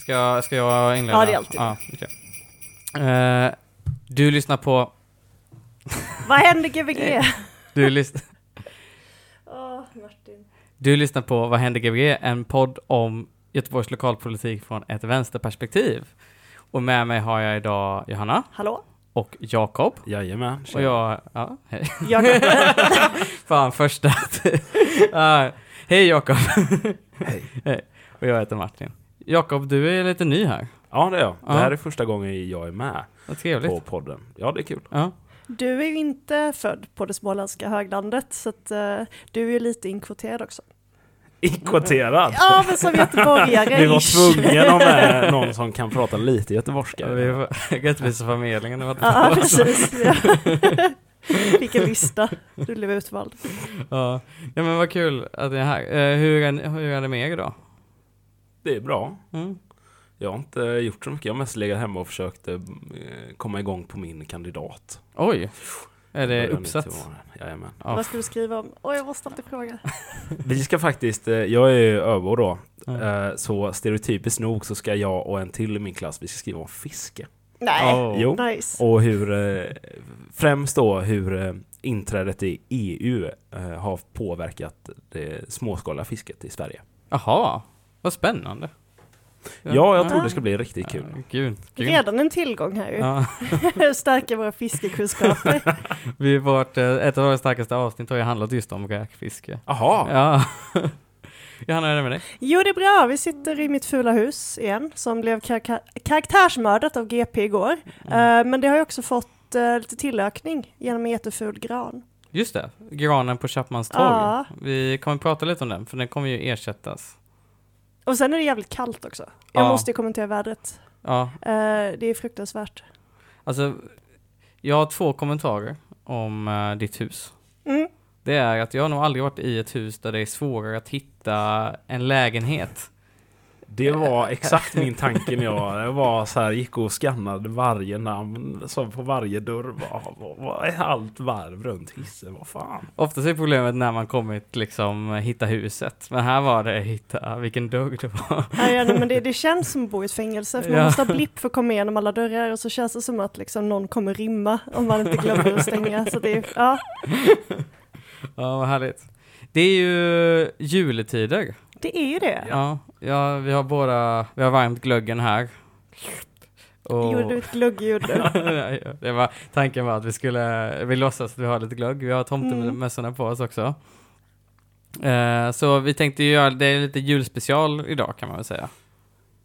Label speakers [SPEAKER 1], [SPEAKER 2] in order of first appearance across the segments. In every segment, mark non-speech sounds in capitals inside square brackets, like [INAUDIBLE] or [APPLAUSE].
[SPEAKER 1] Ska jag, ska jag inleda?
[SPEAKER 2] Ja, det är alltid.
[SPEAKER 1] Ja, okej. Eh, du lyssnar på...
[SPEAKER 2] Vad händer
[SPEAKER 3] Eh.
[SPEAKER 2] Gbg?
[SPEAKER 1] Du, lys- [LAUGHS]
[SPEAKER 2] Åh, Martin.
[SPEAKER 1] du lyssnar på Vad händer Gbg? En podd om Göteborgs lokalpolitik från ett vänsterperspektiv. Och med mig har jag idag Johanna
[SPEAKER 2] Hallå?
[SPEAKER 1] och Jakob.
[SPEAKER 3] Jajamän.
[SPEAKER 1] Och jag... Ja, hej.
[SPEAKER 2] Jag
[SPEAKER 1] Fan, första... [LAUGHS] Ja, hej Jakob.
[SPEAKER 3] [LAUGHS] Hej.
[SPEAKER 1] hej. Och jag heter Martin. Jakob, du är lite ny här.
[SPEAKER 3] Ja, det är jag.
[SPEAKER 1] Ja.
[SPEAKER 3] Det här är första gången jag är med
[SPEAKER 1] Vad trevligt.
[SPEAKER 3] på podden. Ja, det är kul.
[SPEAKER 1] Ja.
[SPEAKER 2] [LAUGHS] Du är ju inte född på det småländska höglandet, så att, eh, du är ju lite inkvoterad också.
[SPEAKER 3] Inkvoterad!
[SPEAKER 2] Ja, men som göteborgare.
[SPEAKER 3] Vi var
[SPEAKER 2] ish.
[SPEAKER 3] tvungna att ha med någon som kan prata lite
[SPEAKER 1] Ja,
[SPEAKER 3] göteborgska.
[SPEAKER 1] vi får [LAUGHS] Rättviseförmedlingen.
[SPEAKER 2] [LAUGHS]
[SPEAKER 1] det var inte
[SPEAKER 2] [LAUGHS] Ja,
[SPEAKER 1] så.
[SPEAKER 2] precis. Ja. [LAUGHS] Vilken lista. Du blev utvald.
[SPEAKER 1] Ja, ja men vad kul att ni är här. Eh, hur, är, ni- hur är det med er idag?
[SPEAKER 3] Det är bra.
[SPEAKER 1] Mm.
[SPEAKER 3] Jag har inte gjort så mycket. Jag har mest legat hemma och försökt eh, komma igång på min kandidat.
[SPEAKER 1] Oj, är det
[SPEAKER 3] Börjar nu till
[SPEAKER 1] uppsatt?
[SPEAKER 3] våren. Jajamän.
[SPEAKER 1] Ja.
[SPEAKER 2] Vad ska du skriva om? Oj, jag måste alltid fråga.
[SPEAKER 3] Vi ska faktiskt, eh, jag är ju öbo då,
[SPEAKER 1] Mm.
[SPEAKER 3] eh, så stereotypiskt nog så ska jag och en till i min klass, vi ska skriva om fiske.
[SPEAKER 2] Nej.
[SPEAKER 1] Oh.
[SPEAKER 3] Jo.
[SPEAKER 2] Nice.
[SPEAKER 3] Och hur, eh, främst då hur eh, inträdet i EU eh, har påverkat det småskaliga fisket i Sverige.
[SPEAKER 1] Jaha, vad spännande.
[SPEAKER 3] Ja, jag tror
[SPEAKER 2] Ja.
[SPEAKER 3] det ska bli riktigt kul.
[SPEAKER 1] Ja, Gud, gud.
[SPEAKER 2] Redan en tillgång här ju.
[SPEAKER 1] Ja,
[SPEAKER 2] [LAUGHS] Stärka våra fiskekunskaper.
[SPEAKER 1] vi vårt, eh, ett av våra starkaste avsnitt har ju handlat just om räkfiske.
[SPEAKER 3] Jaha,
[SPEAKER 1] Ja. [LAUGHS] Johanna, hur är det med dig?
[SPEAKER 2] Jo, det är bra. Vi sitter i mitt fula hus igen, som blev karak- karaktärsmördat av GP igår.
[SPEAKER 1] Mm.
[SPEAKER 2] Eh, men det har ju också fått eh, lite tillökning genom en jätteful gran.
[SPEAKER 1] Just det, granen på Chapmans torg.
[SPEAKER 2] Ja.
[SPEAKER 1] Vi kommer prata lite om den, för den kommer ju ersättas.
[SPEAKER 2] Och sen är det jävligt kallt också. Jag
[SPEAKER 1] Ja.
[SPEAKER 2] måste ju kommentera vädret.
[SPEAKER 1] Ja,
[SPEAKER 2] Eh, det är fruktansvärt.
[SPEAKER 1] alltså, jag har två kommentarer om eh, ditt hus.
[SPEAKER 2] Mm.
[SPEAKER 1] Det är att jag har nog aldrig varit i ett hus där det är svårare att hitta en lägenhet.
[SPEAKER 3] det var exakt min tanke när jag jag var så här, gick och skannade varje namn som på varje dörr. Vad- Vad vad är allt varv runt hissen? Vad fan?
[SPEAKER 1] Oftast är problemet när man kommit liksom hitta huset. Men här var det hitta ah, vilken dörr det var. [LAUGHS]
[SPEAKER 2] Nej, ja, nej, men det, det känns som att bo i ett fängelse, för man
[SPEAKER 1] Ja.
[SPEAKER 2] måste ha blipp för att komma igenom alla dörrar och så känns det som att liksom någon kommer rymma om man inte glömmer att stänga. Så det är, ja,
[SPEAKER 1] Ja, vad härligt. Det är ju juletider.
[SPEAKER 2] det är ju det.
[SPEAKER 1] Ja, ja, vi har båda, vi har varmt glöggen här. Och-
[SPEAKER 2] Gjorde du ett
[SPEAKER 1] [LAUGHS]
[SPEAKER 2] glöggljud?
[SPEAKER 1] det var, tanken var att vi skulle, vi låtsas att vi har lite glögg. Vi har
[SPEAKER 2] Mm.
[SPEAKER 1] tomtemössorna på oss också. Eh, så vi tänkte ju göra, det är lite julspecial idag kan man väl säga.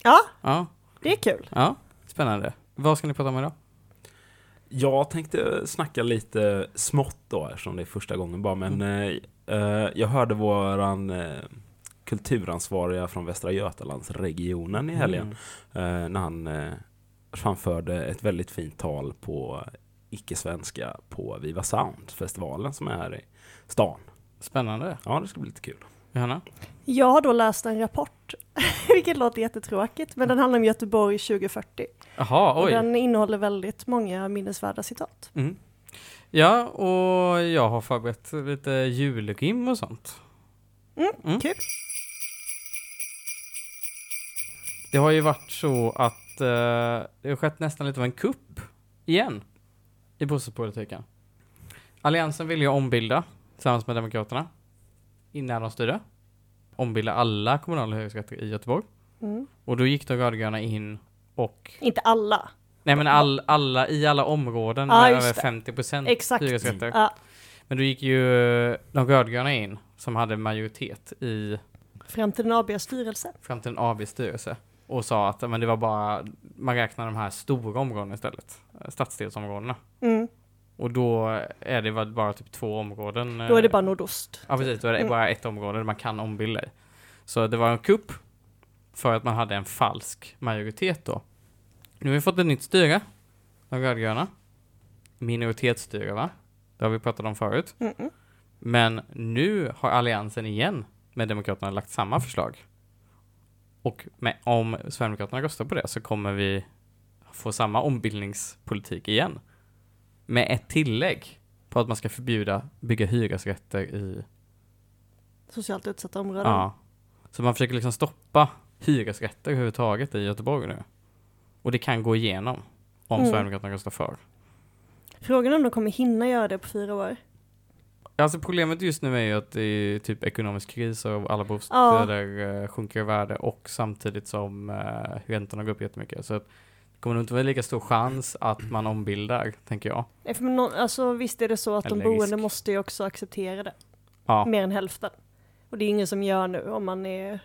[SPEAKER 2] Ja,
[SPEAKER 1] Ja,
[SPEAKER 2] det är kul.
[SPEAKER 1] ja, spännande. Vad ska ni prata om idag?
[SPEAKER 3] Jag tänkte snacka lite smått då eftersom det är första gången bara men eh, eh, jag hörde våran eh, kulturansvariga från Västra Götalandsregionen i helgen
[SPEAKER 1] Mm.
[SPEAKER 3] eh, när han eh, framförde ett väldigt fint tal på icke-svenska på Viva Sound-festivalen som är här i stan.
[SPEAKER 1] Spännande.
[SPEAKER 3] Ja, det ska bli lite kul.
[SPEAKER 1] Johanna?
[SPEAKER 2] Jag har då läst en rapport, [LAUGHS] vilket låter jättetråkigt, men den handlar om Göteborg 2040.
[SPEAKER 1] Jaha,
[SPEAKER 2] Och
[SPEAKER 1] oj.
[SPEAKER 2] den innehåller väldigt många minnesvärda citat.
[SPEAKER 1] Mm. Ja, och jag har förberett lite julrim och sånt. Mm.
[SPEAKER 2] Kul!
[SPEAKER 1] Det har ju varit så att eh, det har skett nästan lite av en kupp igen i bostadspolitiken. Alliansen ville ju ombilda tillsammans med Demokraterna innan de styrde. Ombilda alla kommunala hyresrätter i Göteborg.
[SPEAKER 2] Mm.
[SPEAKER 1] Och då gick de rödgröna in och
[SPEAKER 2] Inte alla.
[SPEAKER 1] Nej men all, alla, i alla områden
[SPEAKER 2] Ja,
[SPEAKER 1] med
[SPEAKER 2] just
[SPEAKER 1] över
[SPEAKER 2] det.
[SPEAKER 1] 50 procent
[SPEAKER 2] Exakt.
[SPEAKER 1] hyresrätter.
[SPEAKER 2] Ja,
[SPEAKER 1] Men då gick ju de rödgröna in som hade majoritet i
[SPEAKER 2] fram till en AB-styrelse.
[SPEAKER 1] Framtiden ABs styrelse och sa att ja, men det var bara, man räknar de här stora områdena istället, eh, stadsdelsområdena.
[SPEAKER 2] Mm.
[SPEAKER 1] Och då är det väl bara typ två områden. eh,
[SPEAKER 2] Då är det bara nordost.
[SPEAKER 1] Ja precis, då är det
[SPEAKER 2] Mm.
[SPEAKER 1] bara ett område där man kan ombilda i. Så det var en kupp för att man hade en falsk majoritet då Nu har vi fått ett nytt styre. De rödgröna. Minoritetsstyre, va? Det har vi pratat om förut.
[SPEAKER 2] Mm-mm.
[SPEAKER 1] Men nu har Alliansen igen med Demokraterna lagt samma förslag. Och med, om Sverigedemokraterna röstar på det så kommer vi få samma ombildningspolitik igen. Med ett tillägg på att man ska förbjuda bygga hyresrätter i
[SPEAKER 2] Socialt utsatta områden.
[SPEAKER 1] Ja. Så man försöker liksom stoppa hyresrätter överhuvudtaget i Göteborg nu. Och det kan gå igenom om
[SPEAKER 2] Mm.
[SPEAKER 1] Sverigedemokraterna röstar för.
[SPEAKER 2] Frågan är om de kommer hinna göra det på fyra år.
[SPEAKER 1] Alltså problemet just nu är ju att det är typ ekonomisk kris och alla bostäder eh, sjunker i värde och samtidigt som eh, räntorna går upp jättemycket. Så att det kommer nog inte vara lika stor chans att man ombildar, tänker jag.
[SPEAKER 2] Nej, för nå- alltså, visst är det så att de
[SPEAKER 1] Eller
[SPEAKER 2] boende
[SPEAKER 1] risk.
[SPEAKER 2] måste ju också acceptera det.
[SPEAKER 1] Ja.
[SPEAKER 2] Mer än hälften. Och det är ingen som gör nu om man är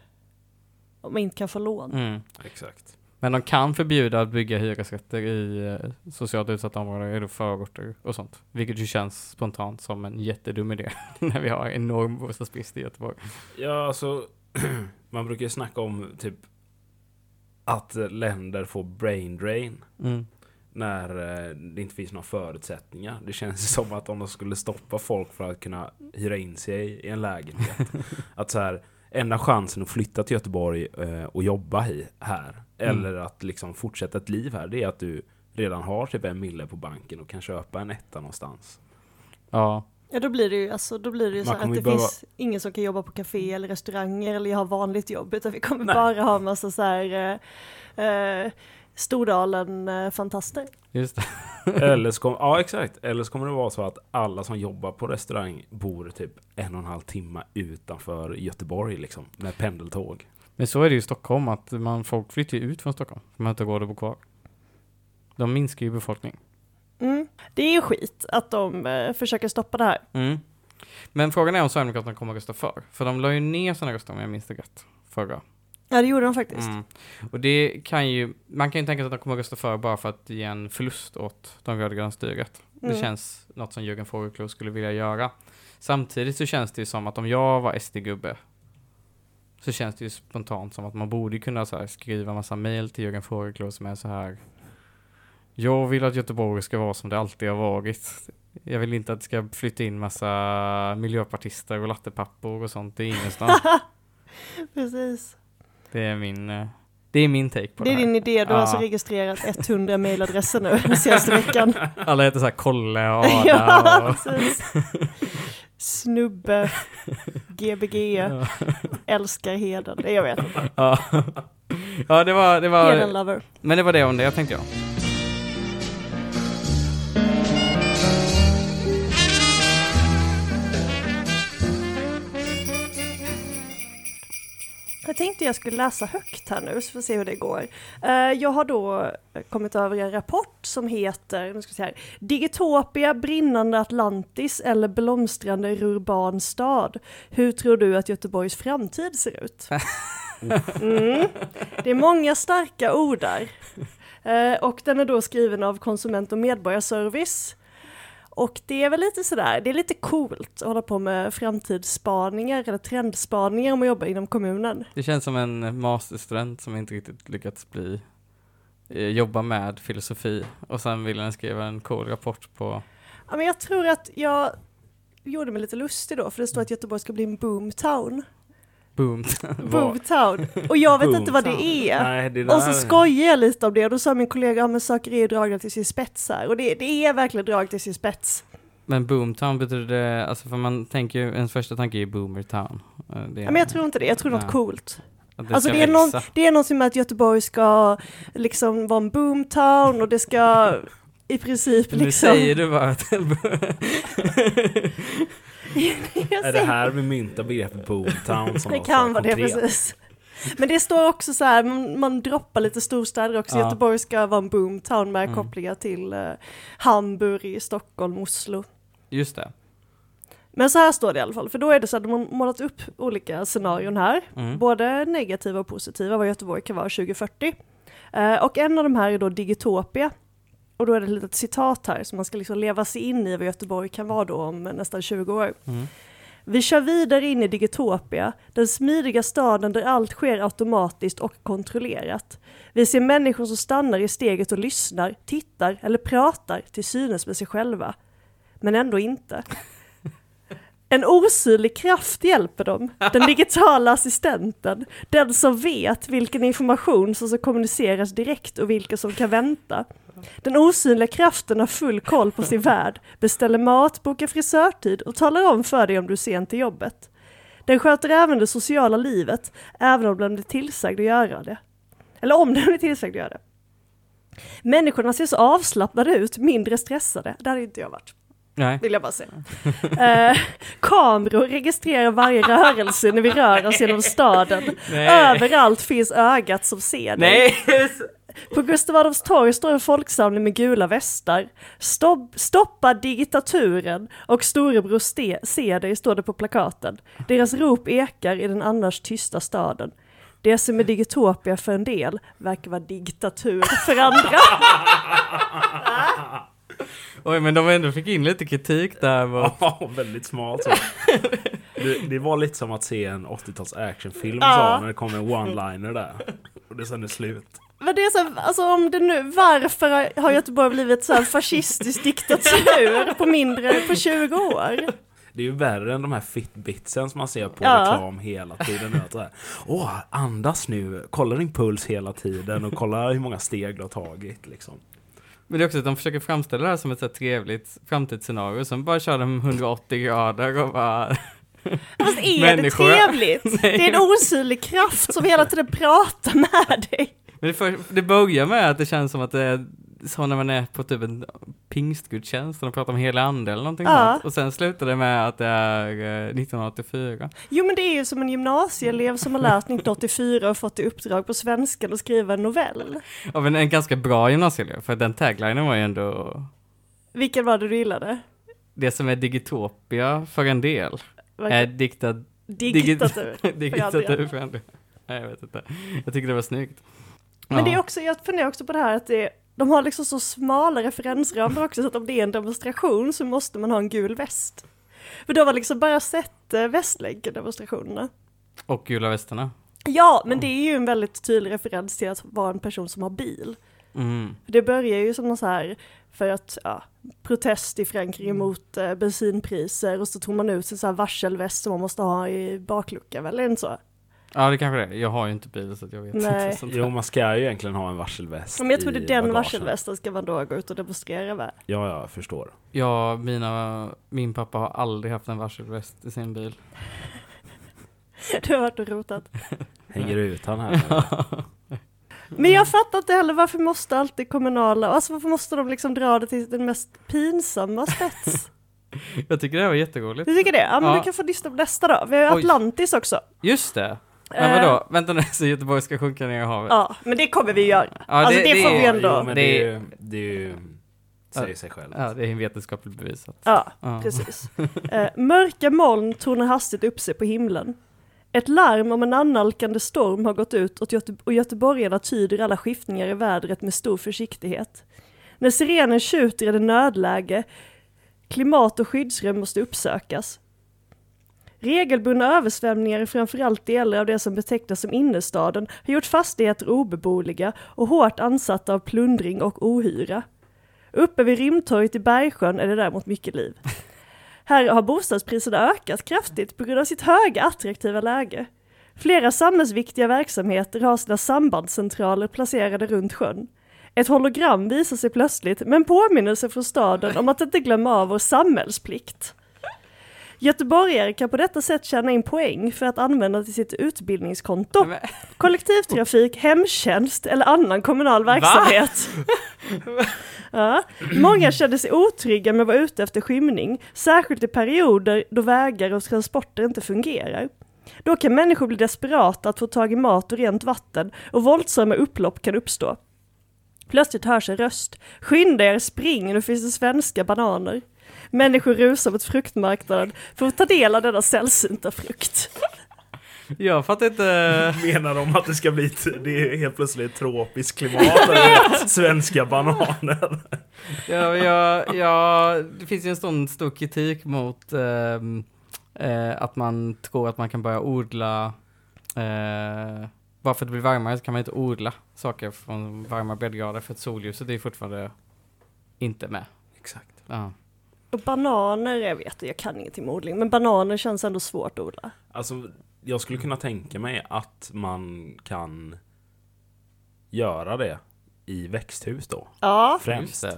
[SPEAKER 2] om man inte kan få lån.
[SPEAKER 1] Mm.
[SPEAKER 3] Exakt.
[SPEAKER 1] Men de kan förbjuda att bygga hyresrätter i eh, socialt utsatta områden, eller förorter och sånt. Vilket ju känns spontant som en jättedum idé [LAUGHS] när vi har enorm bostadsbrist i Göteborg.
[SPEAKER 3] Ja, alltså, [CLEARS THROAT] man brukar ju snacka om typ att eh, länder får brain drain när eh, det inte finns några förutsättningar. Det känns [LAUGHS] ju som att om de skulle stoppa folk för att kunna hyra in sig i en lägenhet.
[SPEAKER 2] [LAUGHS]
[SPEAKER 3] att så här, enda chansen att flytta till Göteborg eh, och jobba i, här,
[SPEAKER 1] Mm.
[SPEAKER 3] eller att liksom fortsätta ett liv här, det är att du redan har typ en mille på banken och kan köpa en
[SPEAKER 2] [LAUGHS]
[SPEAKER 3] etta någonstans.
[SPEAKER 1] Ja,
[SPEAKER 2] Ja, då blir det ju, alltså, då blir det ju
[SPEAKER 3] Man
[SPEAKER 2] så att
[SPEAKER 3] kommer
[SPEAKER 2] det
[SPEAKER 3] ju behöva-
[SPEAKER 2] finns ingen som kan jobba på café eller restauranger eller ha vanligt jobb utan vi kommer
[SPEAKER 3] Nej.
[SPEAKER 2] bara ha en massa så här eh, eh, Stordalen-fantaster.
[SPEAKER 1] just det.
[SPEAKER 3] Eller så, kom, ja, exakt. Eller så kommer det vara så att alla som jobbar på restaurang bor typ en och en halv timme utanför Göteborg liksom, med pendeltåg.
[SPEAKER 1] Men så är det ju i Stockholm, att man, folk flyttar ju ut från Stockholm. De har inte råd att bo kvar. De minskar ju befolkning.
[SPEAKER 2] Mm. Det är ju skit att de eh, försöker stoppa det här.
[SPEAKER 1] Men frågan är om Sverigedemokraterna kommer att rösta för. För de la ju ner sina röster om jag minns det rätt, förra.
[SPEAKER 2] Ja, det gjorde de faktiskt.
[SPEAKER 1] Mm. Och det kan ju, man kan ju tänka sig att de kommer rösta för bara för att ge en förlust åt de rödgröna styret. Det
[SPEAKER 2] Mm. [LAUGHS]
[SPEAKER 1] känns något som Jörgen Fogelklou skulle vilja göra. Samtidigt så känns det ju som att om jag var SD-gubbe så känns det ju spontant som att man borde kunna så här skriva massa mejl till Jörgen Fogelklou som är så här jag vill att Göteborg ska vara som det alltid har varit. Jag vill inte att det ska flytta in massa miljöpartister och lattepappor och sånt i
[SPEAKER 2] [LAUGHS]
[SPEAKER 1] innerstan.
[SPEAKER 2] Precis.
[SPEAKER 1] Det är min, eh, det är min take på det,
[SPEAKER 2] Det är
[SPEAKER 1] här.
[SPEAKER 2] din idé, du har
[SPEAKER 1] Ja.
[SPEAKER 2] alltså registrerat 100 mejladresser nu den senaste veckan.
[SPEAKER 1] [LAUGHS] Alla heter såhär Kolle
[SPEAKER 2] [LAUGHS]
[SPEAKER 1] och Ada
[SPEAKER 2] ja,
[SPEAKER 1] och...
[SPEAKER 2] precis.
[SPEAKER 1] [LAUGHS]
[SPEAKER 2] Snubbe, GBG, älskar Heden. Det jag vet.
[SPEAKER 1] Ja. [LAUGHS] ja, det var... Det
[SPEAKER 2] Heden
[SPEAKER 1] var
[SPEAKER 2] lover.
[SPEAKER 1] men det var det om det, jag tänkte jag.
[SPEAKER 2] Jag tänkte jag skulle läsa högt här nu så får vi se hur det går. Eh, Jag har då kommit över en rapport som heter nu ska vi se här, Digitopia, brinnande Atlantis eller blomstrande urban stad. Hur tror du att Göteborgs framtid ser ut? Mm. Det är många starka ord där. Eh, Och den är då skriven av Konsument och medborgarservice. Och det är väl lite sådär, det är lite coolt att hålla på med framtidsspaningar eller trendspaningar om man jobbar inom kommunen.
[SPEAKER 1] Det känns som en masterstudent som inte riktigt lyckats bli eh, jobba med filosofi och sen ville den skriva en cool rapport på...
[SPEAKER 2] Ja, men jag tror att jag gjorde mig lite lustig då, för det står att Göteborg ska bli en boomtown.
[SPEAKER 1] Boom.
[SPEAKER 2] Boomtown. Och jag vet inte vad det är.
[SPEAKER 3] Nej, det
[SPEAKER 2] Och så skojar jag lite om det och då sa min kollega, ja men saker är ju dragna till sin spets här. Och det, det är verkligen drag till sin spets.
[SPEAKER 1] Men boomtown betyder det... Alltså för man tänker ju... Ens första tanke är ju boomertown. Eh, Det,
[SPEAKER 2] Ja, men jag tror inte det, jag tror något
[SPEAKER 1] Nej.
[SPEAKER 2] coolt.
[SPEAKER 1] att
[SPEAKER 2] alltså
[SPEAKER 1] ska
[SPEAKER 2] det är, någon,
[SPEAKER 1] växa.
[SPEAKER 2] det är någonting med att Göteborg ska liksom vara en boomtown och det ska i princip
[SPEAKER 1] Nu
[SPEAKER 2] liksom...
[SPEAKER 1] säger du bara att...
[SPEAKER 2] [LAUGHS] Alltså, Jag
[SPEAKER 3] Är det
[SPEAKER 2] säger-
[SPEAKER 3] här vi myntar begreppet boomtown som
[SPEAKER 2] Det
[SPEAKER 3] något
[SPEAKER 2] kan
[SPEAKER 3] så
[SPEAKER 2] vara det,
[SPEAKER 3] konkret?
[SPEAKER 2] precis. Men det står också så här, man, man droppar lite storstäder också.
[SPEAKER 1] Ja.
[SPEAKER 2] Göteborg ska vara en boomtown med
[SPEAKER 1] Mm.
[SPEAKER 2] kopplingar till eh, Hamburg, Stockholm, Oslo.
[SPEAKER 1] Just det.
[SPEAKER 2] Men så här står det i alla fall, för då är det så att de har målat upp olika scenarion här.
[SPEAKER 1] Mm.
[SPEAKER 2] Både negativa och positiva vad Göteborg kan vara 2040. Eh, och en av de här är då Digitopia. Och då är det ett litet citat här som man ska liksom leva sig in i vad Göteborg kan vara då om nästan 20 år.
[SPEAKER 1] Mm.
[SPEAKER 2] Vi kör vidare in i Digitopia, den smidiga staden där allt sker automatiskt och kontrollerat. Vi ser människor som stannar i steget och lyssnar, tittar eller pratar till synes med sig själva. Men ändå inte. En osynlig kraft hjälper dem, den digitala assistenten, den som vet vilken information som ska kommuniceras direkt och vilka som kan vänta. Den osynliga kraften har full koll på sin värld, beställer mat, bokar frisörtid och talar om för dig om du är sen till jobbet. Den sköter även det sociala livet, även om den blir tillsagd att göra det. Eller om den blir tillsagd att göra det. Människorna ser så avslappnade ut, mindre stressade. Där hade inte jag varit
[SPEAKER 1] Nej.
[SPEAKER 2] vill jag bara säga. Eh, kameror registrerar varje rörelse när vi rör oss genom staden. Överallt finns ögat som ser dig.
[SPEAKER 1] Nej!
[SPEAKER 2] På Gustav Adolfs torg står en folksamling med gula västar. Stopp, stoppa digitaturen och storebror ste, se dig, står det på plakaten. Deras rop ekar i den annars tysta staden. Det som är digitopia för en del verkar vara diktatur för andra.
[SPEAKER 1] Oj, men de ändå fick in lite kritik där. Var...
[SPEAKER 3] [LAUGHS] Ja, väldigt smalt så. Det, det var lite som att se en 80-tals actionfilm
[SPEAKER 2] Ja.
[SPEAKER 3] sa när det kom en one-liner där. Och det sen är slut.
[SPEAKER 2] Men det är så här, alltså om det nu, varför har Göteborg blivit så här fascistisk diktatur på mindre, på 20 år?
[SPEAKER 3] Det är ju värre än de här fitbitsen som man ser på
[SPEAKER 2] Ja.
[SPEAKER 3] reklam hela tiden. nu, Att så här, Åh, andas nu, kolla din puls hela tiden och kolla hur många steg du har tagit. Liksom.
[SPEAKER 1] Men det är också att de försöker framställa det här som ett så här trevligt framtidsscenario, sen bara kör de 180 grader och bara...
[SPEAKER 2] Fast är
[SPEAKER 1] Människor.
[SPEAKER 2] det trevligt? Det är en osynlig kraft som hela tiden pratar med dig.
[SPEAKER 1] Men det, för, det börjar med att det känns som att det är så när man är på typ en pingstgudstjänst, och de pratar om hela ande eller någonting
[SPEAKER 2] Ja.
[SPEAKER 1] sånt. Och sen slutar det med att det är eh, 1984.
[SPEAKER 2] Jo men det är ju som en gymnasieelev som har läst 1984 och fått i uppdrag på svenskan att skriva en novell.
[SPEAKER 1] Av en, en ganska bra gymnasieelev, för den taglinen var ju ändå
[SPEAKER 2] Vilken var det du gillade?
[SPEAKER 1] det som är digitopia för en del är
[SPEAKER 2] Verkar-
[SPEAKER 1] diktad, [LAUGHS]
[SPEAKER 2] Diktatur.
[SPEAKER 1] digitatur för en del. Nej, jag vet inte. Jag tycker det var snyggt.
[SPEAKER 2] Men det är
[SPEAKER 1] Ja.
[SPEAKER 2] också, jag funderar också på det här att det, de har liksom så smala referensramar också så att om det är en demonstration så måste man ha en gul väst. För de har liksom bara sett eh, Västlänken-demonstrationerna.
[SPEAKER 1] Och gula västarna.
[SPEAKER 2] Ja, men det är ju en väldigt tydlig referens till att vara en person som har bil.
[SPEAKER 1] Mm.
[SPEAKER 2] För det börjar ju som någon så här, för att, ja, protest i Frankrike mot eh, bensinpriser och så tog man ut en sån här varselväst som man måste ha i bakluckan, väl? Är det inte så?
[SPEAKER 1] Ja, det kanske det är. Jag har ju inte bil så att jag vet
[SPEAKER 2] Nej.
[SPEAKER 1] inte. Sånt
[SPEAKER 3] Jo,
[SPEAKER 1] där.
[SPEAKER 3] man ska ju egentligen ha en varselväst
[SPEAKER 2] Men jag tror
[SPEAKER 3] i
[SPEAKER 2] det är den
[SPEAKER 3] bagagen.
[SPEAKER 2] varselvästen ska man då gå ut och demonstrera med. [LAUGHS]
[SPEAKER 3] Ja, ja, jag förstår.
[SPEAKER 1] Ja, mina, min pappa har aldrig haft en varselväst i sin [LAUGHS] bil.
[SPEAKER 2] Du har varit och rotat.
[SPEAKER 3] Hänger ut han här?
[SPEAKER 1] [LAUGHS]
[SPEAKER 3] nu?
[SPEAKER 2] Men jag fattar inte heller varför måste alltid kommunala, alltså varför måste de liksom dra det till den mest
[SPEAKER 1] [LAUGHS]
[SPEAKER 2] pinsamma spets?
[SPEAKER 1] Jag tycker det här var jätteroligt.
[SPEAKER 2] Du tycker det? Ja men
[SPEAKER 1] Ja.
[SPEAKER 2] du kan få lyssna på nästa då. Vi har ju
[SPEAKER 1] Oj.
[SPEAKER 2] Atlantis också.
[SPEAKER 1] Just det! Men
[SPEAKER 2] Eh,
[SPEAKER 1] vadå? Vänta nu, [LAUGHS] så Göteborg ska sjunka ner i havet?
[SPEAKER 2] Ja, men det kommer vi göra. alltså, det får vi
[SPEAKER 3] Ja,
[SPEAKER 2] ändå.
[SPEAKER 3] Jo, men det, är ju- det är ju... Säger sig själv.
[SPEAKER 1] Ja, det är vetenskapligt bevisat.
[SPEAKER 2] Ja,
[SPEAKER 1] Ja.
[SPEAKER 2] precis. Eh, mörka moln tornar hastigt upp sig på himlen. Ett larm om en annalkande storm har gått ut och, Göte- och göteborgarna tyder alla skiftningar i vädret med stor försiktighet. När sirenen tjuter är det nödläge. Klimat och skyddsrum måste uppsökas. Regelbundna översvämningar i framförallt delar av det som betecknas som innerstaden har gjort fastigheter obeboeliga och hårt ansatta av plundring och ohyra. Uppe vid Rimtorget i Bergsjön är det däremot mycket liv. Här har bostadspriserna ökat kraftigt på grund av sitt höga attraktiva läge. Flera samhällsviktiga verksamheter har sina sambandscentraler placerade runt sjön. Ett hologram visar sig plötsligt med en påminnelse från staden om att inte glömma av vår samhällsplikt. Göteborgare kan på detta sätt tjäna in poäng för att använda till sitt utbildningskonto,
[SPEAKER 1] Men-
[SPEAKER 2] kollektivtrafik, hemtjänst eller annan kommunal verksamhet. Ja. Många kände sig otrygga med att vara ute efter skymning, särskilt i perioder då vägar och transporter inte fungerar. Då kan människor bli desperata att få tag i mat och rent vatten och våldsamma upplopp kan uppstå. Plötsligt hörs en röst. Skynda er, spring, nu finns det svenska bananer. Människor rusar mot fruktmarknaden för att ta del av denna sällsynta frukt.
[SPEAKER 1] Jag fattar inte...
[SPEAKER 3] [LAUGHS] Menar de att det ska bli t- det är helt plötsligt ett tropiskt
[SPEAKER 2] [LAUGHS]
[SPEAKER 3] klimat? eller svenska bananer?
[SPEAKER 1] Ja, ja, ja, det finns ju en sån stor kritik mot ehm, Eh, att man tror att man kan börja odla, eh, bara för att det blir varmare så kan man inte odla saker från varma breddgrader för att solljuset är ju fortfarande inte med.
[SPEAKER 3] Exakt.
[SPEAKER 1] Ja.
[SPEAKER 2] Och bananer, jag vet, jag kan ingenting med odling, men bananer känns ändå svårt att odla.
[SPEAKER 3] Alltså, jag skulle kunna tänka mig att man kan göra det i växthus då.
[SPEAKER 2] Ja,
[SPEAKER 3] Främst.
[SPEAKER 1] Just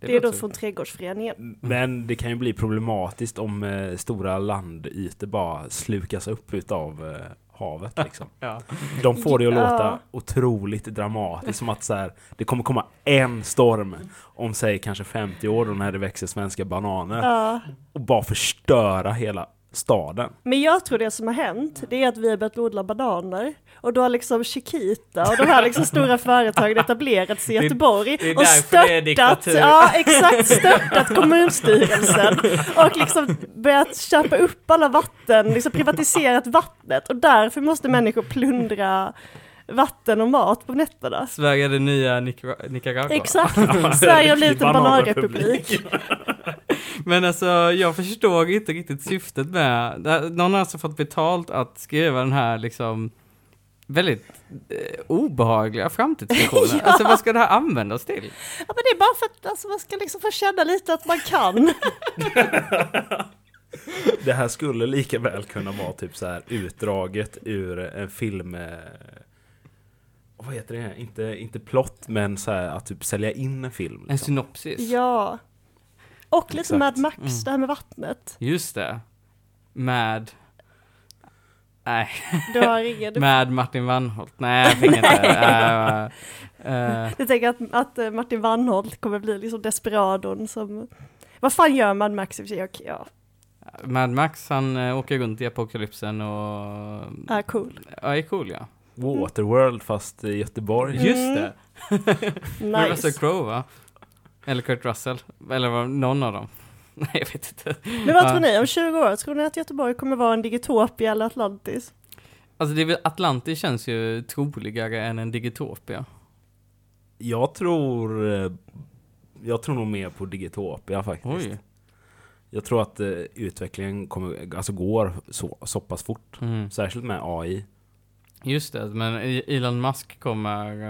[SPEAKER 1] Det,
[SPEAKER 2] det är då
[SPEAKER 1] låter-
[SPEAKER 2] från trädgårdsföreningen.
[SPEAKER 3] Mm. Men det kan ju bli problematiskt om eh, stora landytor bara slukas upp utav eh,
[SPEAKER 2] [LAUGHS]
[SPEAKER 3] havet liksom.
[SPEAKER 1] Ja.
[SPEAKER 3] De får det att
[SPEAKER 2] Ja.
[SPEAKER 3] låta otroligt dramatiskt, som att så här, det kommer komma en storm om säg kanske 50 år då när det växer svenska bananer
[SPEAKER 2] Ja.
[SPEAKER 3] och bara förstöra hela staden.
[SPEAKER 2] Men jag tror det som har hänt, det är att vi har börjat odla bananer och då har liksom Chiquita och de här liksom stora företagen etablerats i Göteborg
[SPEAKER 1] det är
[SPEAKER 2] och
[SPEAKER 1] därför det är
[SPEAKER 2] störtat,
[SPEAKER 1] diktatur.
[SPEAKER 2] ja exakt, störtat kommunstyrelsen och liksom börjat köpa upp alla vatten, liksom privatiserat vattnet och därför måste människor plundra vatten och mat på nätterna.
[SPEAKER 1] Sverige är det nya Nicar- Nicaragua. [LAUGHS]
[SPEAKER 2] Exakt, Sverige har blivit en
[SPEAKER 3] Bananrepublik.
[SPEAKER 2] bananrepublik.
[SPEAKER 1] Men alltså jag förstår inte riktigt syftet med, det- någon har alltså fått betalt att skriva den här liksom väldigt eh, obehagliga framtidsvisionen. Alltså vad ska det här användas till?
[SPEAKER 2] Ja men det är bara för att alltså, man ska liksom få känna lite att man kan.
[SPEAKER 3] Det här skulle lika väl kunna vara typ så här utdraget ur en film eh, vad heter det? Inte, inte plott, men så här, att typ sälja in en film.
[SPEAKER 1] En
[SPEAKER 3] Liksom.
[SPEAKER 1] synopsis.
[SPEAKER 2] Ja. Och lite
[SPEAKER 3] Exakt.
[SPEAKER 2] Mad
[SPEAKER 1] Mm.
[SPEAKER 2] Max, det här med vattnet.
[SPEAKER 1] Just det. Med... Nej,
[SPEAKER 2] Du
[SPEAKER 1] [LAUGHS]
[SPEAKER 2] har ingen... Du,
[SPEAKER 1] med Martin Wannholt. Nej, jag fick inte. Uh,
[SPEAKER 2] jag tänker att, att eh, Martin Wannholt kommer bli liksom desperadon som... Vad fan gör Mad Max i och för sig? Okej, Ja,
[SPEAKER 1] Mad Max, han eh, åker runt i apokalypsen och...
[SPEAKER 2] ja, cool.
[SPEAKER 1] Ja, är cool ja.
[SPEAKER 3] Waterworld fast i Göteborg.
[SPEAKER 2] Mm.
[SPEAKER 1] Just det. alltså- Med
[SPEAKER 2] Nice.
[SPEAKER 1] Russell Crowe va? Eller Kurt Russell. Eller var- någon av dem. [LAUGHS] Nej, jag vet inte.
[SPEAKER 2] Men vad tror
[SPEAKER 1] Ja.
[SPEAKER 2] ni, om 20 år, tror ni att Göteborg kommer vara en digitopia eller Atlantis?
[SPEAKER 1] Alltså, det är väl, Atlantis känns ju troligare än en digitopia.
[SPEAKER 3] Jag tror... eh, Jag tror nog mer på Digitopia faktiskt.
[SPEAKER 1] Oj.
[SPEAKER 3] Jag tror att eh, utvecklingen kommer, alltså går så, så pass fort.
[SPEAKER 1] Mm.
[SPEAKER 3] Särskilt med AI.
[SPEAKER 2] Mm,
[SPEAKER 1] Just det, men I- Elon Musk kommer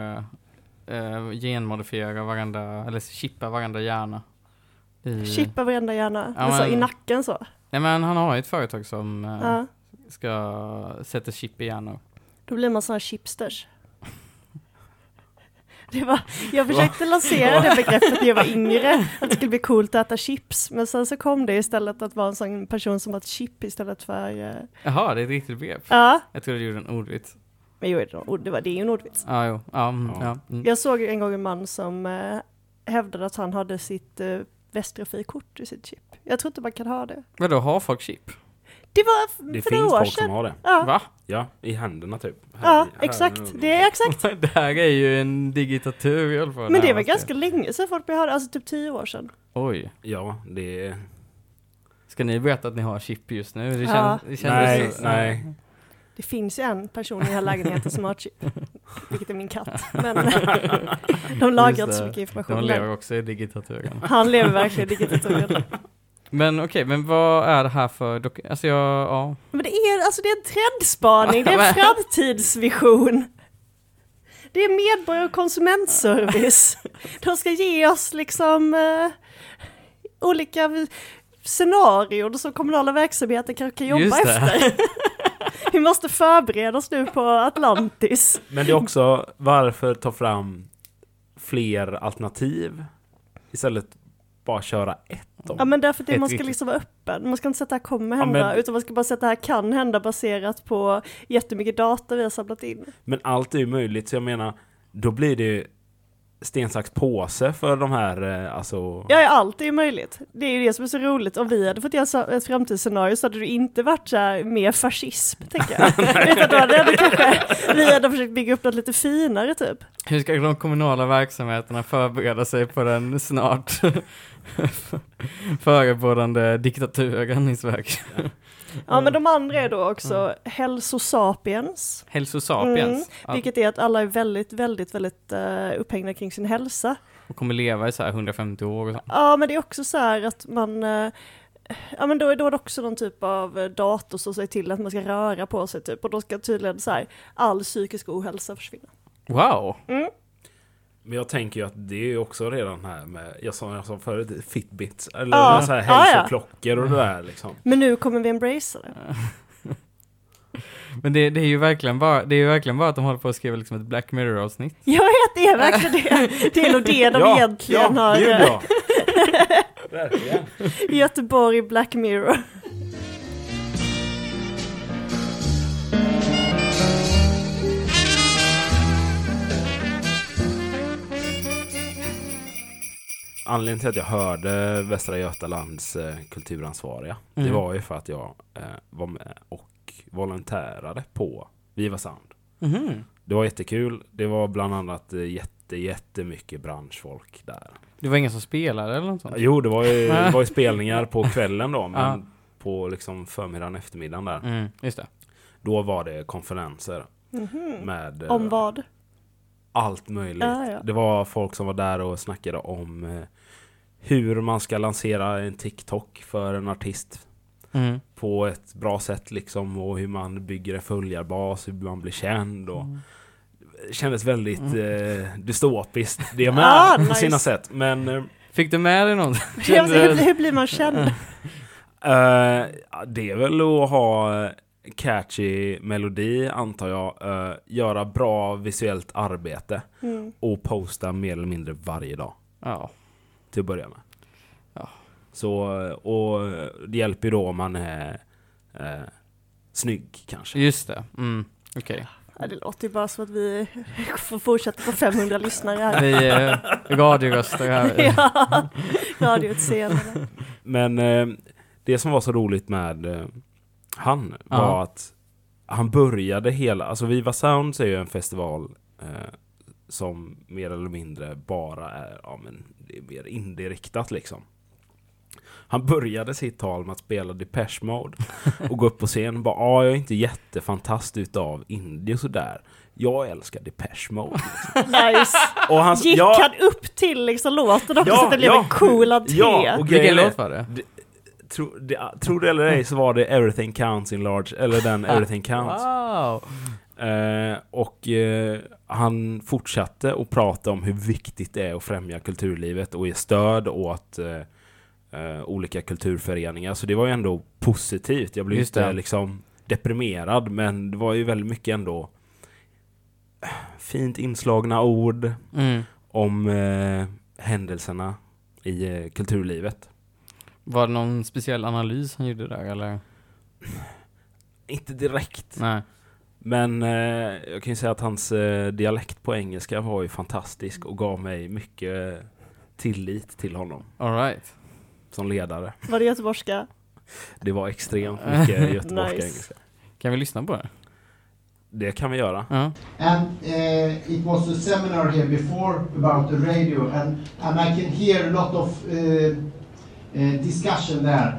[SPEAKER 1] eh, eh, genmodifiera varenda, eller chippa varenda hjärna. I,
[SPEAKER 2] Chippa varenda hjärna,
[SPEAKER 1] Mm. Ja,
[SPEAKER 2] alltså,
[SPEAKER 1] men-
[SPEAKER 2] i nacken så.
[SPEAKER 1] Nej men han har ju ett företag som eh,
[SPEAKER 2] Ja.
[SPEAKER 1] ska sätta chip i hjärnor.
[SPEAKER 2] Då blir man sån här chipsters. [LAUGHS] Det var,
[SPEAKER 3] [LAUGHS]
[SPEAKER 2] jag försökte lansera det begreppet när jag var yngre, att det skulle bli coolt att äta chips, men sen så kom det istället att vara en sån person som åt chip istället för... eh,
[SPEAKER 1] Jaha, det är ett riktigt begrepp.
[SPEAKER 2] Ja,
[SPEAKER 1] Jag trodde du gjorde en ordvits.
[SPEAKER 2] men jag gjorde det, och det, var, det är ju en ordvits.
[SPEAKER 1] Ja, jo. Ja, mm,
[SPEAKER 3] Ja.
[SPEAKER 1] ja. Mm.
[SPEAKER 2] Jag såg en gång en man som eh, hävdade att han hade sitt eh, Västtrafikkort i sitt chip. Jag tror inte man kan ha det.
[SPEAKER 1] Vadå, har folk chip?
[SPEAKER 2] Det var f-
[SPEAKER 3] Det
[SPEAKER 2] för
[SPEAKER 3] finns
[SPEAKER 2] några år
[SPEAKER 3] folk som
[SPEAKER 2] sedan.
[SPEAKER 3] har det.
[SPEAKER 2] Ja,
[SPEAKER 1] Va?
[SPEAKER 3] Ja, i händerna typ. Här
[SPEAKER 2] ja
[SPEAKER 3] i- här
[SPEAKER 2] exakt.
[SPEAKER 3] nu.
[SPEAKER 2] Det är exakt.
[SPEAKER 1] [LAUGHS] det här är ju en digitatur i alla fall.
[SPEAKER 2] Men det
[SPEAKER 1] här
[SPEAKER 2] var
[SPEAKER 1] måste-
[SPEAKER 2] ganska länge sedan folk började ha det, alltså typ tio år sedan.
[SPEAKER 1] Oj.
[SPEAKER 3] Ja, det är...
[SPEAKER 1] Ska ni berätta att ni har chip just nu? Det,
[SPEAKER 2] Ja.
[SPEAKER 1] känns, det känns
[SPEAKER 3] Nej,
[SPEAKER 1] så-
[SPEAKER 3] nej.
[SPEAKER 2] Det finns ju en person i den här lägenheten som har ett chip, vilket är min katt.
[SPEAKER 1] [LAUGHS]
[SPEAKER 2] Men [LAUGHS] de
[SPEAKER 1] Just
[SPEAKER 2] lagrar
[SPEAKER 1] det.
[SPEAKER 2] inte så mycket
[SPEAKER 1] De
[SPEAKER 2] information.
[SPEAKER 1] lever
[SPEAKER 2] där.
[SPEAKER 1] också i digitaturen.
[SPEAKER 2] Han lever verkligen i diktaturen.
[SPEAKER 1] Men okej, men vad är det här för dok- Alltså jag, ja.
[SPEAKER 2] Men det är, alltså det är en
[SPEAKER 1] [LAUGHS]
[SPEAKER 2] trendspaning, det är en framtidsvision. Det är medborgar och konsumentservice. De ska ge oss liksom eh, olika v- scenarion som kommunala verksamheter kan, kan jobba
[SPEAKER 1] Just det.
[SPEAKER 2] efter. [LAUGHS] Vi måste förbereda oss nu på Atlantis.
[SPEAKER 3] Men det är också varför ta fram fler alternativ istället bara köra ett då?
[SPEAKER 2] Ja men därför att det,
[SPEAKER 3] Ett
[SPEAKER 2] man ska
[SPEAKER 3] riktigt-
[SPEAKER 2] liksom vara öppen, man ska inte sätta här kommer
[SPEAKER 3] Ja,
[SPEAKER 2] hända,
[SPEAKER 3] men-
[SPEAKER 2] utan man ska bara sätta här kan hända baserat på jättemycket data vi har samlat in.
[SPEAKER 3] Men allt är ju möjligt, så jag menar, då blir det ju sten, sax, påse för de här, eh, alltså...
[SPEAKER 2] Ja, ja, allt är ju möjligt. Det är ju det som är så roligt. Om vi hade fått göra så- ett framtidsscenario så hade det inte varit så här mer fascism, tänker
[SPEAKER 3] [LAUGHS]
[SPEAKER 2] jag. utan då hade det kanske, vi hade försökt bygga upp något lite finare typ.
[SPEAKER 1] Hur ska de kommunala verksamheterna förbereda sig på den snart [LAUGHS] förebådande diktaturen i Sverige?
[SPEAKER 2] Ja,
[SPEAKER 3] Mm.
[SPEAKER 2] men de andra är då också hälsosapiens.
[SPEAKER 1] Hälsosapiens.
[SPEAKER 2] Mm,
[SPEAKER 1] Ja,
[SPEAKER 2] Vilket är att alla är väldigt, väldigt, väldigt eh, upphängda kring sin hälsa.
[SPEAKER 1] och kommer leva i så här 150 år och så.
[SPEAKER 2] Ja, men det är också så här att man eh, ja men då är då är det också någon typ av eh, dator som säger till att man ska röra på sig typ och då ska tydligen så här all psykisk ohälsa försvinna.
[SPEAKER 1] Wow!
[SPEAKER 3] Men jag tänker ju att det är ju också redan här med, jag sa, jag sa förut, Fitbits, eller
[SPEAKER 2] Ja.
[SPEAKER 3] så här
[SPEAKER 2] Ja, ja.
[SPEAKER 3] hälsoklockor och det där liksom.
[SPEAKER 2] Men nu kommer vi embracea det.
[SPEAKER 1] Men det, det är ju verkligen bara, det är ju verkligen bara att de håller på att skriva liksom ett Black Mirror-avsnitt.
[SPEAKER 2] Jag vet, det är verkligen [LAUGHS] det. Det är nog det de egentligen
[SPEAKER 3] ja,
[SPEAKER 2] har.
[SPEAKER 3] det är
[SPEAKER 2] eh,
[SPEAKER 3] bra. Verkligen.
[SPEAKER 2] Göteborg Black Mirror.
[SPEAKER 3] Anledningen till att jag hörde Västra Götalands eh, kulturansvariga,
[SPEAKER 1] Mm.
[SPEAKER 3] det var ju för att jag eh, var med och volontärade på Viva Sound.
[SPEAKER 1] Mhm.
[SPEAKER 3] Det var jättekul. Det var bland annat eh, jätte, jättemycket branschfolk där.
[SPEAKER 1] Det var ingen som spelade eller något sånt?
[SPEAKER 3] Jo, det var ju, det var ju spelningar på kvällen då, men
[SPEAKER 1] Ja.
[SPEAKER 3] på liksom förmiddagen, eftermiddagen där.
[SPEAKER 1] Mm, just det.
[SPEAKER 3] Då var det konferenser
[SPEAKER 2] Mhm.
[SPEAKER 3] med eh,
[SPEAKER 2] Om vad?
[SPEAKER 3] allt möjligt.
[SPEAKER 2] Ja, ja. [LAUGHS]
[SPEAKER 3] Det var folk som var där och snackade om eh, hur man ska lansera en TikTok för en artist
[SPEAKER 1] Mm.
[SPEAKER 3] på ett bra sätt liksom och hur man bygger en följarbas, hur man blir känd
[SPEAKER 1] Mm.
[SPEAKER 3] och det kändes väldigt eh, dystopiskt det med
[SPEAKER 2] Ah,
[SPEAKER 3] på
[SPEAKER 2] nice.
[SPEAKER 3] sina sätt. Men eh,
[SPEAKER 1] Fick du med dig [LAUGHS] något?
[SPEAKER 2] Jag vet, hur, hur blir man [LAUGHS] känd?
[SPEAKER 3] Eh, det är väl att ha eh, catchy melodi antar jag. Eh, göra bra visuellt arbete
[SPEAKER 2] Mm.
[SPEAKER 3] och posta mer eller mindre varje dag
[SPEAKER 1] Ja.
[SPEAKER 3] till att börja med.
[SPEAKER 1] Ja.
[SPEAKER 3] Så, eh, och eh, det hjälper ju då om man är eh, snygg kanske.
[SPEAKER 1] Just det. Mm. Okej.
[SPEAKER 2] Ja, det låter ju bara som att vi [LAUGHS] får fortsätta på 500 lyssnare här.
[SPEAKER 1] Vi eh, radioröster [LAUGHS] här.
[SPEAKER 2] [LAUGHS] Ja, radioutseende.
[SPEAKER 3] Men eh, det som var så roligt med eh, han
[SPEAKER 1] Ja.
[SPEAKER 3] var att han började hela, alltså Viva Sounds är ju en festival eh, som mer eller mindre bara är, ja men det är mer indie-riktat liksom. Han började sitt tal med att spela Depeche
[SPEAKER 2] [LAUGHS]
[SPEAKER 3] Mode och gå upp på scen och bara ah, jag är inte jättefantast utav indie och sådär. Jag älskar Depeche Mode.
[SPEAKER 2] Nice.
[SPEAKER 3] Och han,
[SPEAKER 2] [LAUGHS] Gick
[SPEAKER 3] Alltså, ja,
[SPEAKER 2] han upp till liksom låten också
[SPEAKER 3] Ja,
[SPEAKER 2] så att det blev
[SPEAKER 3] ja.
[SPEAKER 2] en cool entré?
[SPEAKER 3] Ja, och
[SPEAKER 1] Vilken
[SPEAKER 3] grejen är-
[SPEAKER 1] låt var det?
[SPEAKER 3] Tro, det, tror det eller ej så var det Everything Counts in Large, eller
[SPEAKER 2] [LAUGHS]
[SPEAKER 3] den Everything Counts.
[SPEAKER 1] Wow!
[SPEAKER 3] Eh, och eh, han fortsatte att prata om hur viktigt det är att främja kulturlivet och ge stöd åt eh, eh, olika kulturföreningar. Så det var ju ändå positivt. Jag blev
[SPEAKER 1] Just
[SPEAKER 3] inte
[SPEAKER 1] det.
[SPEAKER 3] liksom deprimerad, men det var ju väldigt mycket ändå eh, fint inslagna ord
[SPEAKER 1] Mm.
[SPEAKER 3] om eh, händelserna i eh, kulturlivet.
[SPEAKER 1] Var det någon speciell analys han gjorde där eller?
[SPEAKER 3] Inte direkt.
[SPEAKER 1] Nej.
[SPEAKER 3] Men eh, jag kan ju säga att hans eh, dialekt på engelska var ju fantastisk och gav mig mycket tillit till honom
[SPEAKER 1] Alright.
[SPEAKER 3] som ledare.
[SPEAKER 2] Var det göteborgska?
[SPEAKER 3] Det var extremt mycket
[SPEAKER 2] [LAUGHS]
[SPEAKER 3] göteborgska
[SPEAKER 2] Nice.
[SPEAKER 3] engelska.
[SPEAKER 1] Kan vi lyssna på det?
[SPEAKER 3] Det kan vi göra.
[SPEAKER 1] Ja.
[SPEAKER 4] And uh, it was a seminar here before about the radio, and, and I can hear a lot of uh, uh, discussion there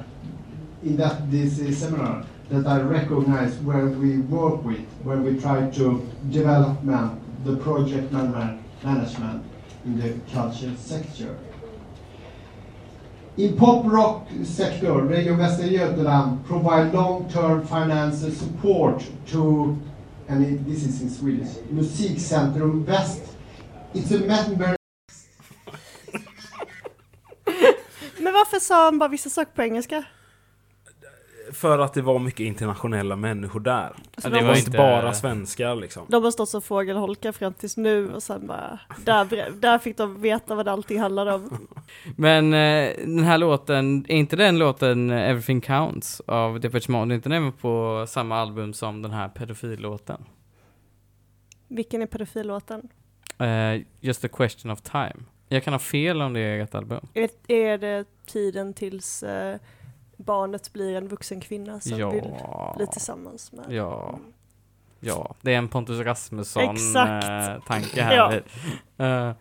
[SPEAKER 4] in that this uh, seminar that I recognize where we work with when we try to develop man, the project man, man, management in the culture sector. In pop rock sector, Radio Västra Götaland provide long-term financial support to, and it, this is in Swedish, Musikcentrum Väst. It's a member
[SPEAKER 2] Men varför sa han bara vissa saker på engelska?
[SPEAKER 3] För att det var mycket internationella människor där.
[SPEAKER 1] Ja,
[SPEAKER 2] Alltså, de,
[SPEAKER 1] det
[SPEAKER 3] Det
[SPEAKER 1] var
[SPEAKER 3] var
[SPEAKER 2] måste,
[SPEAKER 3] inte
[SPEAKER 1] inte-
[SPEAKER 3] bara svenskar liksom.
[SPEAKER 2] de har stått som fågelholkar fram tills nu och sen bara, där, bre- där fick de veta vad allting handlade om.
[SPEAKER 1] Men eh, den här låten, är inte den låten eh, Everything Counts av Depeche Mode, är inte den på samma album som den här pedofillåten?
[SPEAKER 2] Vilken är pedofillåten?
[SPEAKER 1] Eh, just a question of time. Jag kan ha fel om det är ett album.
[SPEAKER 2] Är, är det tiden tills eh, barnet blir en vuxen kvinna som vill
[SPEAKER 1] Ja.
[SPEAKER 2] bli tillsammans med?
[SPEAKER 1] Ja. Ja, det är en Pontus
[SPEAKER 2] Exakt. [LAUGHS]
[SPEAKER 1] Rasmusson-tanke här.
[SPEAKER 2] Ja.
[SPEAKER 1] Eh.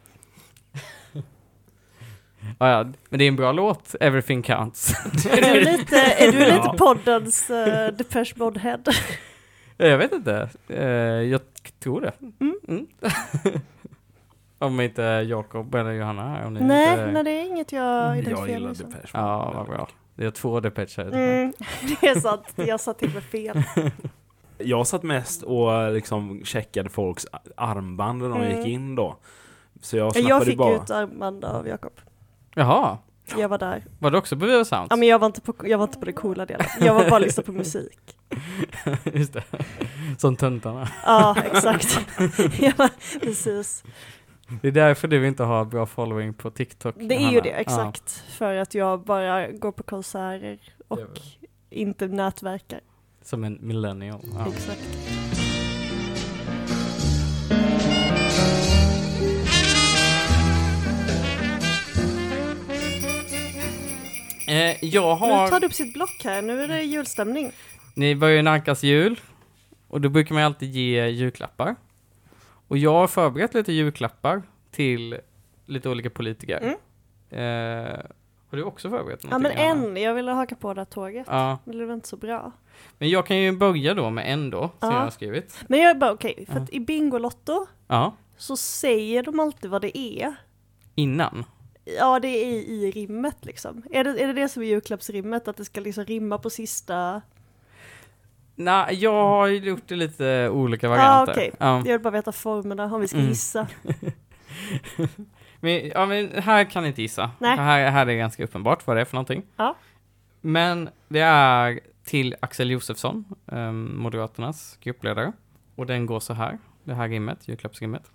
[SPEAKER 1] [LAUGHS] ja, ja, men det är en bra låt, Everything Counts.
[SPEAKER 2] Är [LAUGHS] du lite, är du
[SPEAKER 3] Ja.
[SPEAKER 2] lite poddens uh, Depeche Mode-head?
[SPEAKER 1] jag vet inte. Eh, jag tror det.
[SPEAKER 2] Mm.
[SPEAKER 1] Mm. [LAUGHS] om inte Jakob eller Johanna är här. Om ni
[SPEAKER 2] Nej,
[SPEAKER 1] inte... Mm,
[SPEAKER 2] nej, det är alltså. inget jag
[SPEAKER 3] Jag
[SPEAKER 2] identifierar
[SPEAKER 3] gillar
[SPEAKER 2] mig som.
[SPEAKER 3] Depeche Mode
[SPEAKER 1] Ja, vad
[SPEAKER 3] väldigt
[SPEAKER 1] bra.
[SPEAKER 3] mycket.
[SPEAKER 1] Det är två Depeche här.
[SPEAKER 2] Mm, [LAUGHS] det är sant, jag sa till med fel.
[SPEAKER 3] Jag satt mest och liksom checkade folks armband när de
[SPEAKER 2] Mm.
[SPEAKER 3] gick in då. Så jag
[SPEAKER 2] Jag
[SPEAKER 3] slappade
[SPEAKER 2] fick ju
[SPEAKER 3] bara.
[SPEAKER 2] ett armband av Jakob.
[SPEAKER 1] Jaha,
[SPEAKER 2] Jag var där.
[SPEAKER 1] var det också på Viva Sound?
[SPEAKER 2] Ja, men jag var inte på, jag var inte på den coola delen. Jag var bara lyssna på musik.
[SPEAKER 1] [LAUGHS]
[SPEAKER 2] [LAUGHS]
[SPEAKER 1] Just det. Som töntarna.
[SPEAKER 2] Ja, exakt. [LAUGHS] ja, precis.
[SPEAKER 1] Det är därför du inte har bra following på TikTok.
[SPEAKER 2] Det är ju
[SPEAKER 1] Hanna.
[SPEAKER 2] det, exakt. För att jag bara går på konserter och
[SPEAKER 1] Det
[SPEAKER 2] inte nätverkar.
[SPEAKER 1] Ja, som en millennial.
[SPEAKER 2] Mm.
[SPEAKER 1] Ja.
[SPEAKER 2] Exakt.
[SPEAKER 1] Eh, jag
[SPEAKER 2] Nu tar
[SPEAKER 1] har...
[SPEAKER 2] du upp sitt block här, nu är det julstämning.
[SPEAKER 1] Ni börjar ju nalkas jul. Och då brukar man ju alltid ge julklappar. Och jag har förberett lite julklappar till lite olika politiker.
[SPEAKER 2] Mm.
[SPEAKER 1] Eh, har du också förberett
[SPEAKER 2] Ja men
[SPEAKER 1] någonting? Hanna?
[SPEAKER 2] en, jag ville haka på det här tåget.
[SPEAKER 1] Ja,
[SPEAKER 2] Men det var inte så bra.
[SPEAKER 1] men jag kan ju börja då med en då, som
[SPEAKER 2] Ja.
[SPEAKER 1] jag har skrivit.
[SPEAKER 2] Men jag är bara okej, för att i Bingolotto
[SPEAKER 1] Ja,
[SPEAKER 2] så säger de alltid vad det är.
[SPEAKER 1] innan.
[SPEAKER 2] Ja, det är i, i rimmet liksom. Är det, är det det som är julklappsrimmet? Att det ska liksom rimma på sista?
[SPEAKER 1] Nej, jag har ju gjort det lite olika
[SPEAKER 2] Ja,
[SPEAKER 1] varianter.
[SPEAKER 2] okej.
[SPEAKER 1] Ja.
[SPEAKER 2] Jag vill bara veta formerna, om vi ska
[SPEAKER 1] Mm.
[SPEAKER 2] gissa.
[SPEAKER 1] Men, ja, men här kan ni inte gissa.
[SPEAKER 2] Nej.
[SPEAKER 1] Här, här är det ganska uppenbart vad det är för någonting.
[SPEAKER 2] Ja.
[SPEAKER 1] Men det är till Axel Josefsson, eh, Moderaternas gruppledare. Och den går så här, det här rimmet, julklappsrimmet.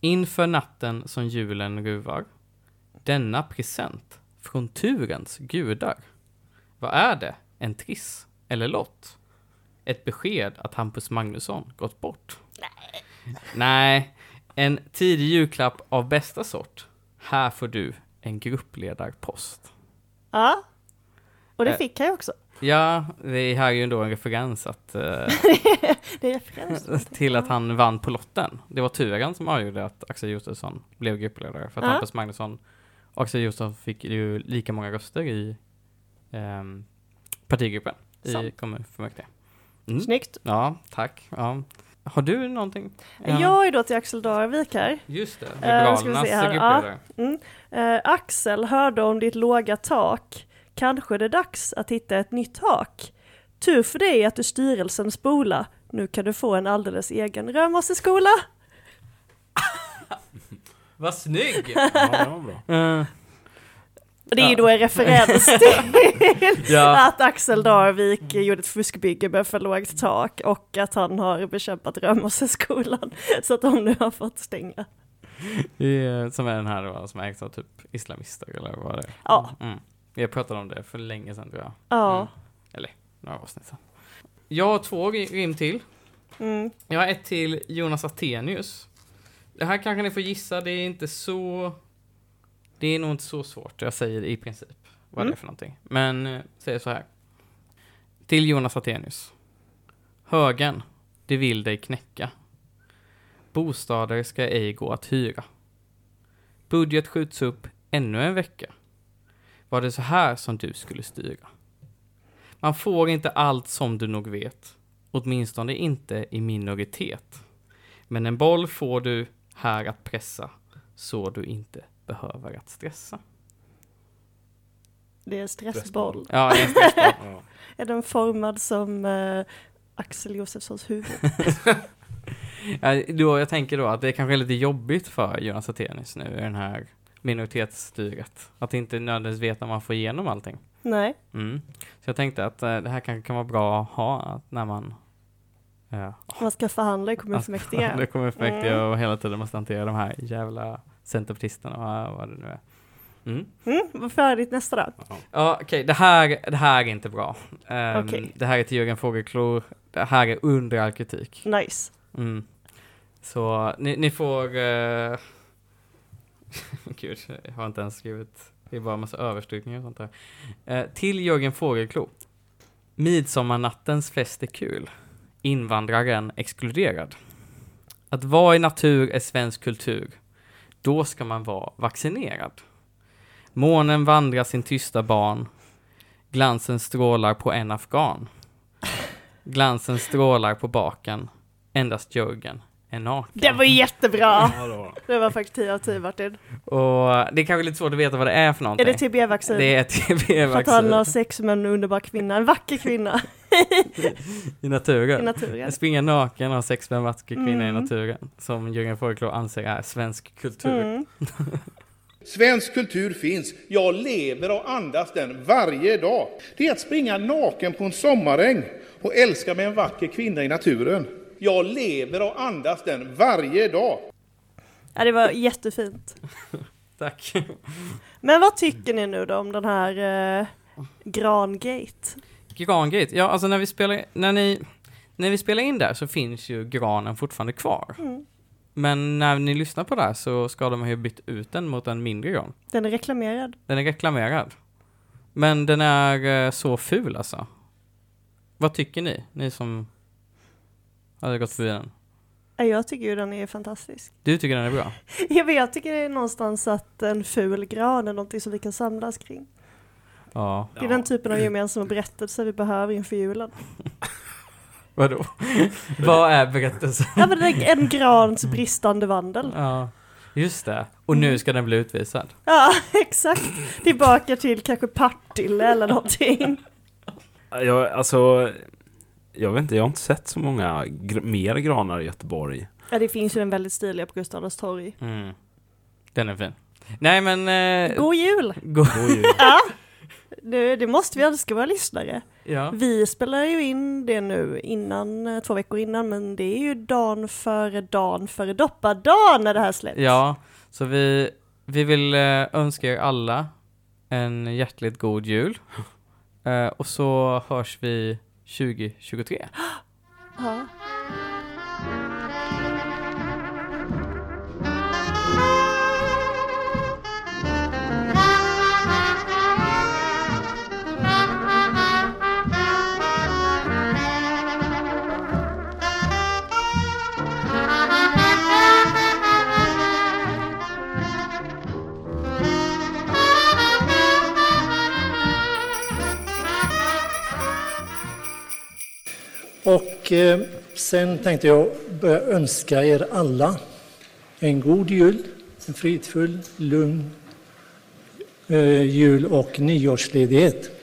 [SPEAKER 1] Inför natten som julen ruvar. Denna present från turens gudar. Vad är det? En triss? Eller lott? Ett besked att Hampus Magnusson gått bort? Nej. Nej. En tidig julklapp av bästa sort. Här får du en gruppledarpost.
[SPEAKER 2] Ja. Och det
[SPEAKER 1] Eh.
[SPEAKER 2] fick han ju också. [LAUGHS]
[SPEAKER 1] Ja, det här är ju ändå en referens att, eh, [LAUGHS]
[SPEAKER 2] Det är referens.
[SPEAKER 1] till att han vann på lotten. Det var turen som avgjorde att Axel Josefsson blev gruppledare. För att
[SPEAKER 2] Ja.
[SPEAKER 1] Hampus Magnusson och Axel Josefsson fick ju lika många röster i ehm, partigruppen i
[SPEAKER 2] Sant.
[SPEAKER 1] kommunfullmäktige. Mm.
[SPEAKER 2] Snyggt.
[SPEAKER 1] Ja, tack. Ja. Har du någonting?
[SPEAKER 2] Jag är då till Axel Darvik här.
[SPEAKER 1] Just det,
[SPEAKER 2] Eh, ska vi se
[SPEAKER 1] Liberalernas
[SPEAKER 2] här. Ja.
[SPEAKER 1] gruppledare.
[SPEAKER 2] Eh, Axel hörde om ditt låga tak. Kanske det är dags att hitta ett nytt tak. Tur för dig att du styrelsen spola. Nu kan du få en alldeles egen rörmosseskola.
[SPEAKER 1] Vad
[SPEAKER 2] [LAUGHS]
[SPEAKER 1] snygg!
[SPEAKER 3] Ja, det var bra.
[SPEAKER 1] Eh,
[SPEAKER 2] Och Det är ju
[SPEAKER 1] Ja.
[SPEAKER 2] då en referens till [LAUGHS]
[SPEAKER 1] Ja.
[SPEAKER 2] att Axel Darvik gjorde ett fuskbygge med för lågt tak och att han har bekämpat rörmosseskolan så att de nu har fått stänga.
[SPEAKER 1] Det är- Som är den här då, som ägs av typ islamister eller vad det är.
[SPEAKER 2] Ja,
[SPEAKER 1] Mm. Jag pratade om det för länge sedan tror jag.
[SPEAKER 2] ja.
[SPEAKER 1] Mm. Eller några avsnitt sedan. Jag har två ri- rim till.
[SPEAKER 2] Mm.
[SPEAKER 1] Jag har ett till Jonas Attenius. Det här kanske ni får gissa, det är inte så... Det är nog inte så svårt, jag säger i princip vad det är för någonting. Men eh, säger så här. Till Jonas Attenius. Högen, det vill dig knäcka. Bostäder ska ej gå att hyra. Budget skjuts upp ännu en vecka. Var det så här som du skulle styra? Man får inte allt som du nog vet. Åtminstone inte i minoritet. Men en boll får du här att pressa så du inte behöver att stressa.
[SPEAKER 2] Det är en stressboll.
[SPEAKER 1] Ja, [LAUGHS] en stressboll.
[SPEAKER 3] Ja.
[SPEAKER 2] Är den formad som eh, Axel Josefssons huvud?
[SPEAKER 1] Ja, då, jag tänker då att det kanske är lite jobbigt för Jonas Attenius nu i den här minoritetsstyret. Att inte nödvändigtvis veta om man får igenom allting.
[SPEAKER 2] Nej.
[SPEAKER 1] Mm. Så jag tänkte att eh, det här kanske kan vara bra att ha att när man eh,
[SPEAKER 2] Man ska förhandla i kommunfullmäktige.
[SPEAKER 1] [LAUGHS] Det kommer effekt mm. och hela tiden måste hantera de här jävla centerpartisterna och vad det nu är. Mm.
[SPEAKER 2] Mm, vad färdigt nästa då.
[SPEAKER 1] Ja, okej, det, här, det här är inte bra. Ehm,
[SPEAKER 2] Okej.
[SPEAKER 1] Det här är till Jörgen Fogelklou. Det här är under all kritik.
[SPEAKER 2] Nice.
[SPEAKER 1] Mm. Så ni, ni får... eh, [LAUGHS] Gud, jag har inte ens skrivit. Det är bara en massa överstrykningar och sånt där. Eh, till Jörgen Fogelklou. Midsommarnattens fest är kul. Invandraren exkluderad. Att vara i natur är svensk kultur. Då ska man vara vaccinerad. Månen vandrar sin tysta barn. Glansen strålar på en afghan. Glansen strålar på baken. Endast Jörgen är naken.
[SPEAKER 2] Det var jättebra!
[SPEAKER 3] Ja, det var det.
[SPEAKER 2] Det var faktiskt 10 av 10 Martin.
[SPEAKER 1] Och eh, det är kanske lite svårt att veta vad det är för någonting.
[SPEAKER 2] Är det TB-vaccin?
[SPEAKER 1] Det är TB
[SPEAKER 2] För att han har
[SPEAKER 1] vaccin
[SPEAKER 2] sex med en underbar kvinna, en vacker kvinna
[SPEAKER 1] i
[SPEAKER 2] [LAUGHS] i
[SPEAKER 1] naturen.
[SPEAKER 2] naturen.
[SPEAKER 1] Springa naken och ha sex med en vacker kvinna i
[SPEAKER 2] Mm.
[SPEAKER 1] naturen. Som Jürgen Fogelklou anser är svensk kultur.
[SPEAKER 2] Mm.
[SPEAKER 5] Svensk kultur finns. Jag lever och andas den varje dag. Det är att springa naken på en sommaräng och älska med en vacker kvinna i naturen. Jag lever och andas den varje dag.
[SPEAKER 2] Ja, det var jättefint.
[SPEAKER 1] Tack. [LAUGHS]
[SPEAKER 2] Men vad tycker ni nu då om den här eh, Grangate?
[SPEAKER 1] Grangate. Ja, alltså när vi spelar, när ni, när vi spelar in där så finns ju granen fortfarande kvar.
[SPEAKER 2] Mm.
[SPEAKER 1] Men när ni lyssnar på det här så ska de ha ju bytt ut den mot en mindre gran.
[SPEAKER 2] Den är reklamerad.
[SPEAKER 1] Den är reklamerad. Men den är eh, så ful alltså. Vad tycker ni? Ni som hade gått förbi den.
[SPEAKER 2] Ja, Jag tycker ju den är fantastisk. [LAUGHS]
[SPEAKER 1] Du tycker den är bra?
[SPEAKER 2] Jag, vet, jag tycker det är någonstans att en ful gran är någonting som vi kan samlas kring.
[SPEAKER 1] Ja.
[SPEAKER 2] Det är den typen av gemensamma berättelser vi behöver inför julen.
[SPEAKER 1] Vadå? [LAUGHS] Vad är berättelsen?
[SPEAKER 2] Ja, men det är en grans bristande vandel.
[SPEAKER 1] Mm. Ja. Just det. Och nu ska den bli utvisad.
[SPEAKER 2] Ja, [LAUGHS] exakt. Tillbaka till kanske Partille eller någonting.
[SPEAKER 3] Jag, alltså, jag vet inte, jag har inte sett så många gr- mer granar i Göteborg.
[SPEAKER 2] Ja, det finns ju den väldigt stiliga på Gustav Adolfs torg.
[SPEAKER 1] Mm. Den är fin. Nej men... Eh,
[SPEAKER 2] God jul!
[SPEAKER 1] gå-
[SPEAKER 2] Det, det måste vi önska våra lyssnare.
[SPEAKER 1] [LAUGHS] Ja.
[SPEAKER 2] Vi spelar ju in det nu innan, eh, två veckor innan, men det är ju dagen före dagen före doppadan när det här släpps.
[SPEAKER 1] ja, så vi, vi vill eh, önska er alla en hjärtligt god jul. Eh, och så hörs vi 2023.
[SPEAKER 2] Ja.
[SPEAKER 6] Och eh, sen tänkte jag börja önska er alla en god jul, en fridfull, lugn eh, jul och nyårsledighet.